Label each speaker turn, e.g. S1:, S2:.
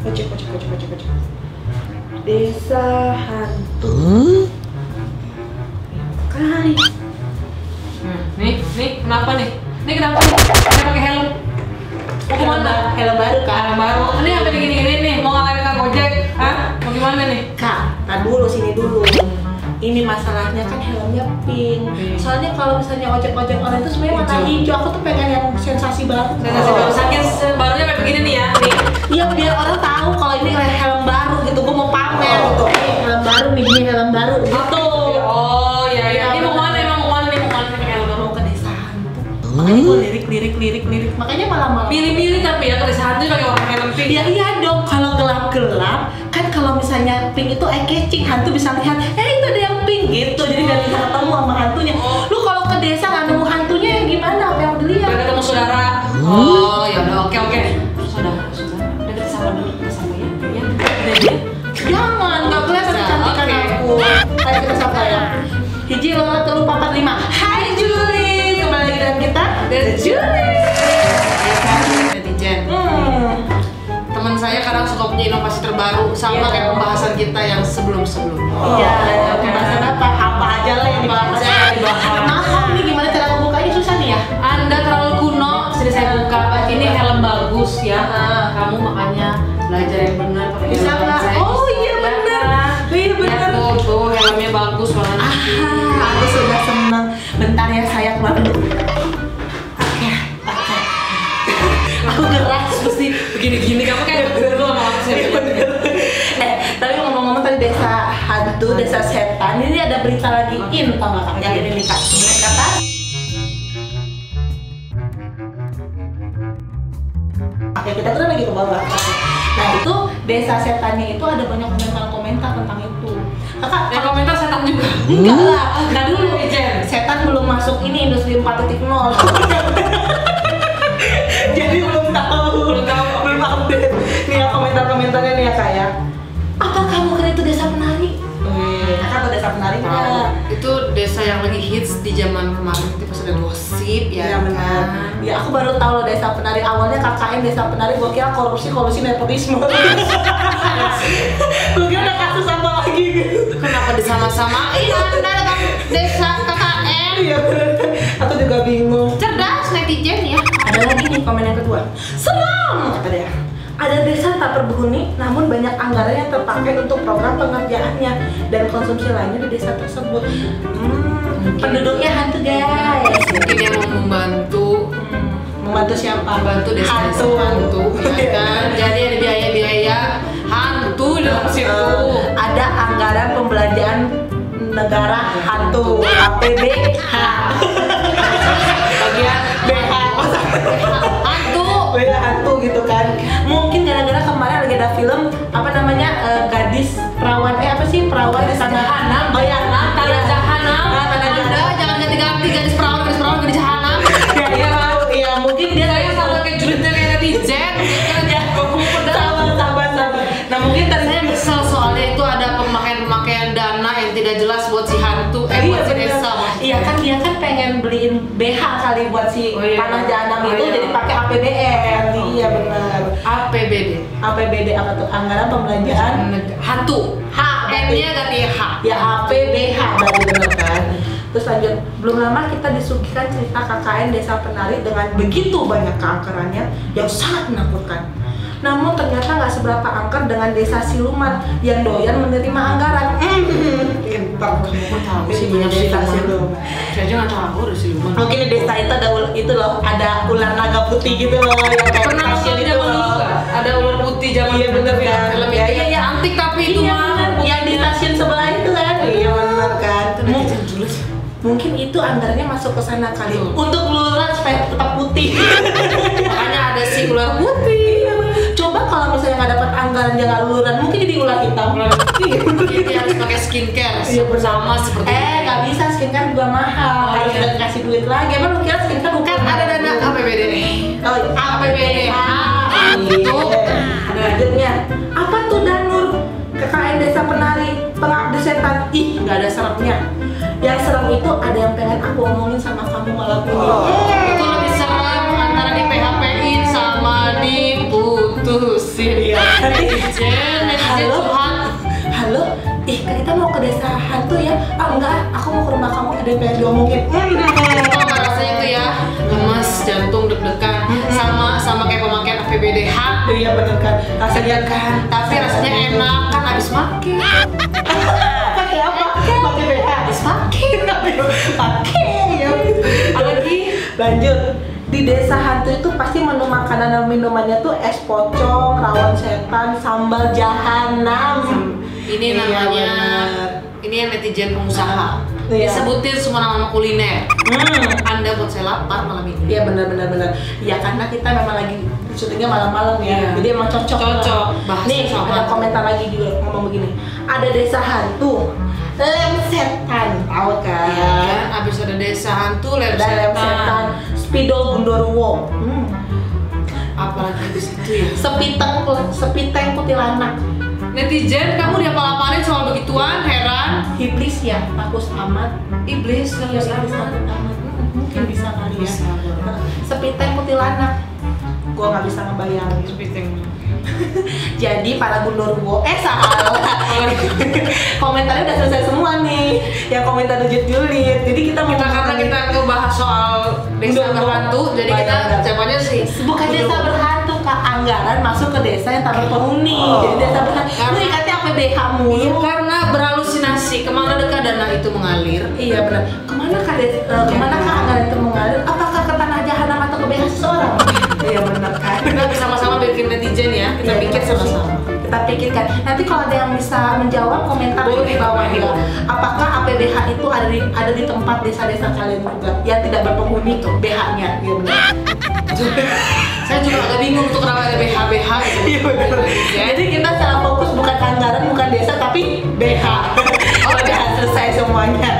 S1: Baca, baca, baca, baca, baca. Desa hantu. Kai.
S2: Hmm, nih, nih, kenapa nih? Nih kenapa nih? Saya pakai helm. Mau kemana?
S3: Helm- helm baru, Kak.
S2: Helm baru. Ini apa gini gini nih? Mau ngalahin kak Gojek? Hah? Mau gimana nih?
S3: Kak, tak dulu sini dulu. Ini masalahnya kan helmnya pink. Soalnya kalau misalnya ojek-ojek online itu sebenarnya warna hijau. Aku tuh pengen yang sensasi baru.
S2: Saya kasih baru sakit barunya kayak begini nih ya. Nih.
S3: Iya biar orang tahu kalau ini helm baru gitu. Gue mau pamer gitu. Ini helm baru nih, ini helm baru. Gitu.
S2: Satu. Oh iya iya. Ini mau kemana emang mau kemana nih? Mau kemana nih pakai helm baru?
S3: Mau ke desa hantu. Makanya gue lirik, lirik, lirik, lirik. Makanya malam-malam.
S2: Pilih-pilih tapi ya ke desa hantu pakai warna helm pink.
S3: Ya iya dong, kalau gelap-gelap kan kalau misalnya pink itu eye catching, hantu bisa lihat, eh itu ada yang pink gitu. Jadi biar bisa ketemu sama hantunya. Lu kalau ke desa nggak nemu hantunya ya gimana? Apa yang dilihat?
S2: Udah ketemu saudara. Oh, ya udah oke oke. Saudara, saudara. Udah kita sama dulu, kita sama ya. Ya, udah ya.
S3: Jangan, nggak kelihatan
S2: Nah,
S3: kecantikan
S2: oke.
S3: aku. Tadi kita sapa ya. Hiji lewat telu papat lima. Hai Juli, kembali lagi dengan kita
S2: The
S3: Juli.
S2: Ya kan, netizen.
S3: Hmm.
S2: Teman saya kadang suka punya inovasi terbaru sama
S3: Iya.
S2: kayak pembahasan kita yang sebelum-sebelumnya.
S3: Iya,
S2: ya kan.
S3: pembahasan apa? Apa aja lah yang dibahas.
S2: Apa aja yang dibahas.
S3: Mahal nih gimana cara membukanya susah nih ya.
S2: Anda terlalu kuno, sudah saya buka. Ini helm bagus ya. Kamu makanya belajar yang benar pakai
S3: Ah. Bisa
S2: helm
S3: nggak?
S2: saya.
S3: Oh, iya,
S2: Bisa,
S3: benar.
S2: kan?
S3: Iya, benar.
S2: Lihat tuh, tuh helmnya bagus warnanya.
S3: Ah, aku sudah senang. Bentar ya saya keluar dulu. Oke, oke. Aku gerak mesti
S2: Begini-gini kamu kayak bener lu sama aku saya.
S3: eh, tapi ngomong-ngomong tadi desa hantu, desa setan, ini ada berita lagi in tau gak kak? Yang ini nih kak, Bener kata Ya kita tuh lagi ke bawah Nah itu desa setannya itu ada banyak komentar-komentar tentang itu Kakak,
S2: Dan komentar setan juga.
S3: enggak eh, lah
S2: Enggak dulu, Ijen.
S3: setan belum masuk ini industri 4.0 jadi belum tahu
S2: Belum tahu.
S3: belum update nih ya komentar-komentarnya nih ya kayak apa kamu kira itu desa penari kakak tahu desa penari nggak?
S2: Tahu. Nah, Itu desa yang lagi hits di zaman kemarin itu pas ada gosip ya.
S3: Iya benar.
S2: kan?
S3: Ya aku baru tahu loh desa penari awalnya KKN desa penari gua kira korupsi korupsi nepotisme. gua kira ada kasus apa lagi gitu.
S2: Kenapa disama-samain Anda dengan desa KKN?
S3: Iya benar. Aku juga bingung.
S2: Cerdas netizen ya.
S3: Ada lagi nih komen yang kedua. Senang kata dia. Ada desa tak berbunyi, namun banyak anggaran yang terpakai untuk program pengerjaannya dan konsumsi lainnya di desa tersebut. Hmm, penduduknya hantu guys.
S2: Mungkin dia mau membantu
S3: Hmm, Membantu siapa?
S2: membantu desa
S3: hantu. Iya.
S2: hantu, ya kan? Jadi ada biaya-biaya hantu dalam situ.
S3: Eh, ada anggaran pembelanjaan negara hantu APBH.
S2: Bagian
S3: BH.
S2: hantu.
S3: beda hantu gitu kan mungkin gara-gara kemarin lagi ada film apa namanya eh, gadis perawan eh apa sih perawan di tanah
S2: Jahanam,
S3: oh ya
S2: tanah
S3: iya.
S2: jahanam.
S3: Ah, tanah
S2: Anda
S3: jahanam
S2: jangan ganti-ganti gadis perawan, gadis perawan, gadis jahanam.
S3: ya iya tahu iya mungkin dia
S2: Saya sama kayak julidnya kayak netizen.
S3: Iya.
S2: Ya, kumpul pedang.
S3: sabar sabar sabar nah mungkin tadi
S2: Saya kesel soalnya itu ada pemakaian-pemakaian dana yang tidak jelas buat si hantu, eh
S3: Iya,
S2: buat si
S3: bener.
S2: desa.
S3: Iya kan dia kan pengen beliin BH kali buat si
S2: Oh, iya.
S3: tanah jahanam
S2: Oh,
S3: itu
S2: iya.
S3: jadi pakai APBN. Iya benar.
S2: APBD.
S3: APBD apa tuh anggaran pembelanjaan
S2: Hantu.
S3: H
S2: N-nya ganti H.
S3: ya APBH berarti bener kan terus lanjut belum lama kita disuguhkan cerita KKN desa penari dengan begitu banyak keangkerannya yang sangat menakutkan namun ternyata nggak seberapa angker dengan desa siluman yang doyan menerima anggaran
S2: Hmm, Gue tahu
S3: Ini
S2: sih banyak
S3: desa siluman.
S2: siluman. Saya aja nggak tahu ada siluman.
S3: mungkin di desa itu ada ul- itu loh ada ular naga putih gitu loh yang kayak
S2: Pernah
S3: stasiun
S2: nonton
S3: itu
S2: zaman dulu
S3: loh.
S2: nggak? Ada ular putih zaman
S3: Iya, bener
S2: dulu,
S3: kan?
S2: Film
S3: Iya,
S2: itu
S3: iya, iya.
S2: antik tapi itu
S3: iya
S2: mah.
S3: bener, yang di stasiun sebelah itu kan iya benar kan
S2: Itu netizen dulu.
S3: mungkin itu anggarannya masuk ke sana kali
S2: Betul.
S3: untuk lurah supaya tetap putih
S2: Makanya ada si ular putih.
S3: Iya, coba kalau misalnya nggak dapat anggaran jangan luluran mungkin jadi ular hitam
S2: Jadi harus pakai skincare.
S3: Iya, bener.
S2: bersama seperti.
S3: eh nggak bisa skincare gua mahal
S2: Oh,
S3: harus
S2: iya.
S3: dikasih duit lagi emang lu kira skincare bukan
S2: Kan ada dana APBD nih.
S3: oh, iya.
S2: APBH.
S3: Ah,
S2: Itu.
S3: iya. lanjutnya apa tuh Danur KKN Desa Penari pengabdi setan ih nggak ada seremnya yang serem itu ada yang pengen aku omongin sama kamu malam ini
S2: Itu
S3: Iya. kan kita mau ke desa hantu ya ah enggak ah, aku mau ke rumah kamu ada yang pengen diomongin
S2: Tau nggak rasanya tuh ya lemas jantung deg-degan sama sama kayak pemakaian APBD hak
S3: iya bener kan rasanya kan
S2: tapi rasanya enak kan abis makin
S3: pakai apa pakai BH
S2: abis makin
S3: pakai ya
S2: apalagi
S3: lanjut di desa hantu itu pasti menu makanan dan minumannya tuh es pocong, rawon setan, sambal jahanam.
S2: ini
S3: Iya,
S2: namanya
S3: benar.
S2: ini yang netizen pengusaha
S3: Iya.
S2: disebutin semua nama-nama kuliner
S3: Hmm.
S2: anda buat saya lapar malam ini
S3: Iya benar benar benar. Ya karena kita memang lagi syutingnya malam-malam ya.
S2: Iya.
S3: Jadi emang cocok.
S2: Cocok. Bahas
S3: Nih
S2: sama.
S3: ada komentar lagi juga ngomong begini. Ada desa hantu, lem setan, tahu kan?
S2: Iya kan abis ada desa hantu lem
S3: Ada lem setan,
S2: setan
S3: spidol gundorwo, hmm.
S2: apalagi abis itu ya
S3: sepiteng sepiteng kuntilanak,
S2: netizen kamu diapa-apain soal begituan heran
S3: iblis ya, takut amat. Iya,
S2: iblis
S3: Iblis
S2: lemes
S3: takut
S2: amat
S3: amat. Hmm, Mungkin bisa kali ya.
S2: Bisa.
S3: Sepiteng kuntilanak, gua nggak bisa ngebayangin.
S2: Kepiting.
S3: Jadi para gundurwo eh salah. Komentarnya udah selesai semua nih. Yang komentar lanjut julid. Jadi kita mau
S2: Kita karena kita ngebahas soal desa
S3: Bener.
S2: berhantu, jadi kita
S3: Bayangkan.
S2: jawabannya sih gitu.
S3: bukan desa berhantu kak anggaran masuk ke desa yang tak berpenghuni. Jadi desa berhantu. Lu ikatnya APBH
S2: Oh. Iya,
S3: mulu.
S2: karena berhalusinasi kemana dekat dana itu mengalir.
S3: Iya benar. Kemana kak des, eh, kemana kak anggaran itu mengalir? Apakah ke tanah jahanam atau ke BH seseorang? Iya benar kan.
S2: Kita sama-sama bikin netizen ya, kita
S3: Iya,
S2: bikin sama-sama.
S3: kita pikirkan nanti kalau ada yang bisa menjawab komentar di
S2: Boleh,
S3: bawah
S2: boleh.
S3: ya apakah APBH itu ada di ada di tempat desa-desa kalian juga yang tidak berpenghuni tuh BH-nya ya benar
S2: Saya juga agak bingung tuh kenapa ada BH-BH gitu.
S3: Iya, bener. jadi kita salah fokus bukan anggaran bukan desa tapi BH oh BH selesai semuanya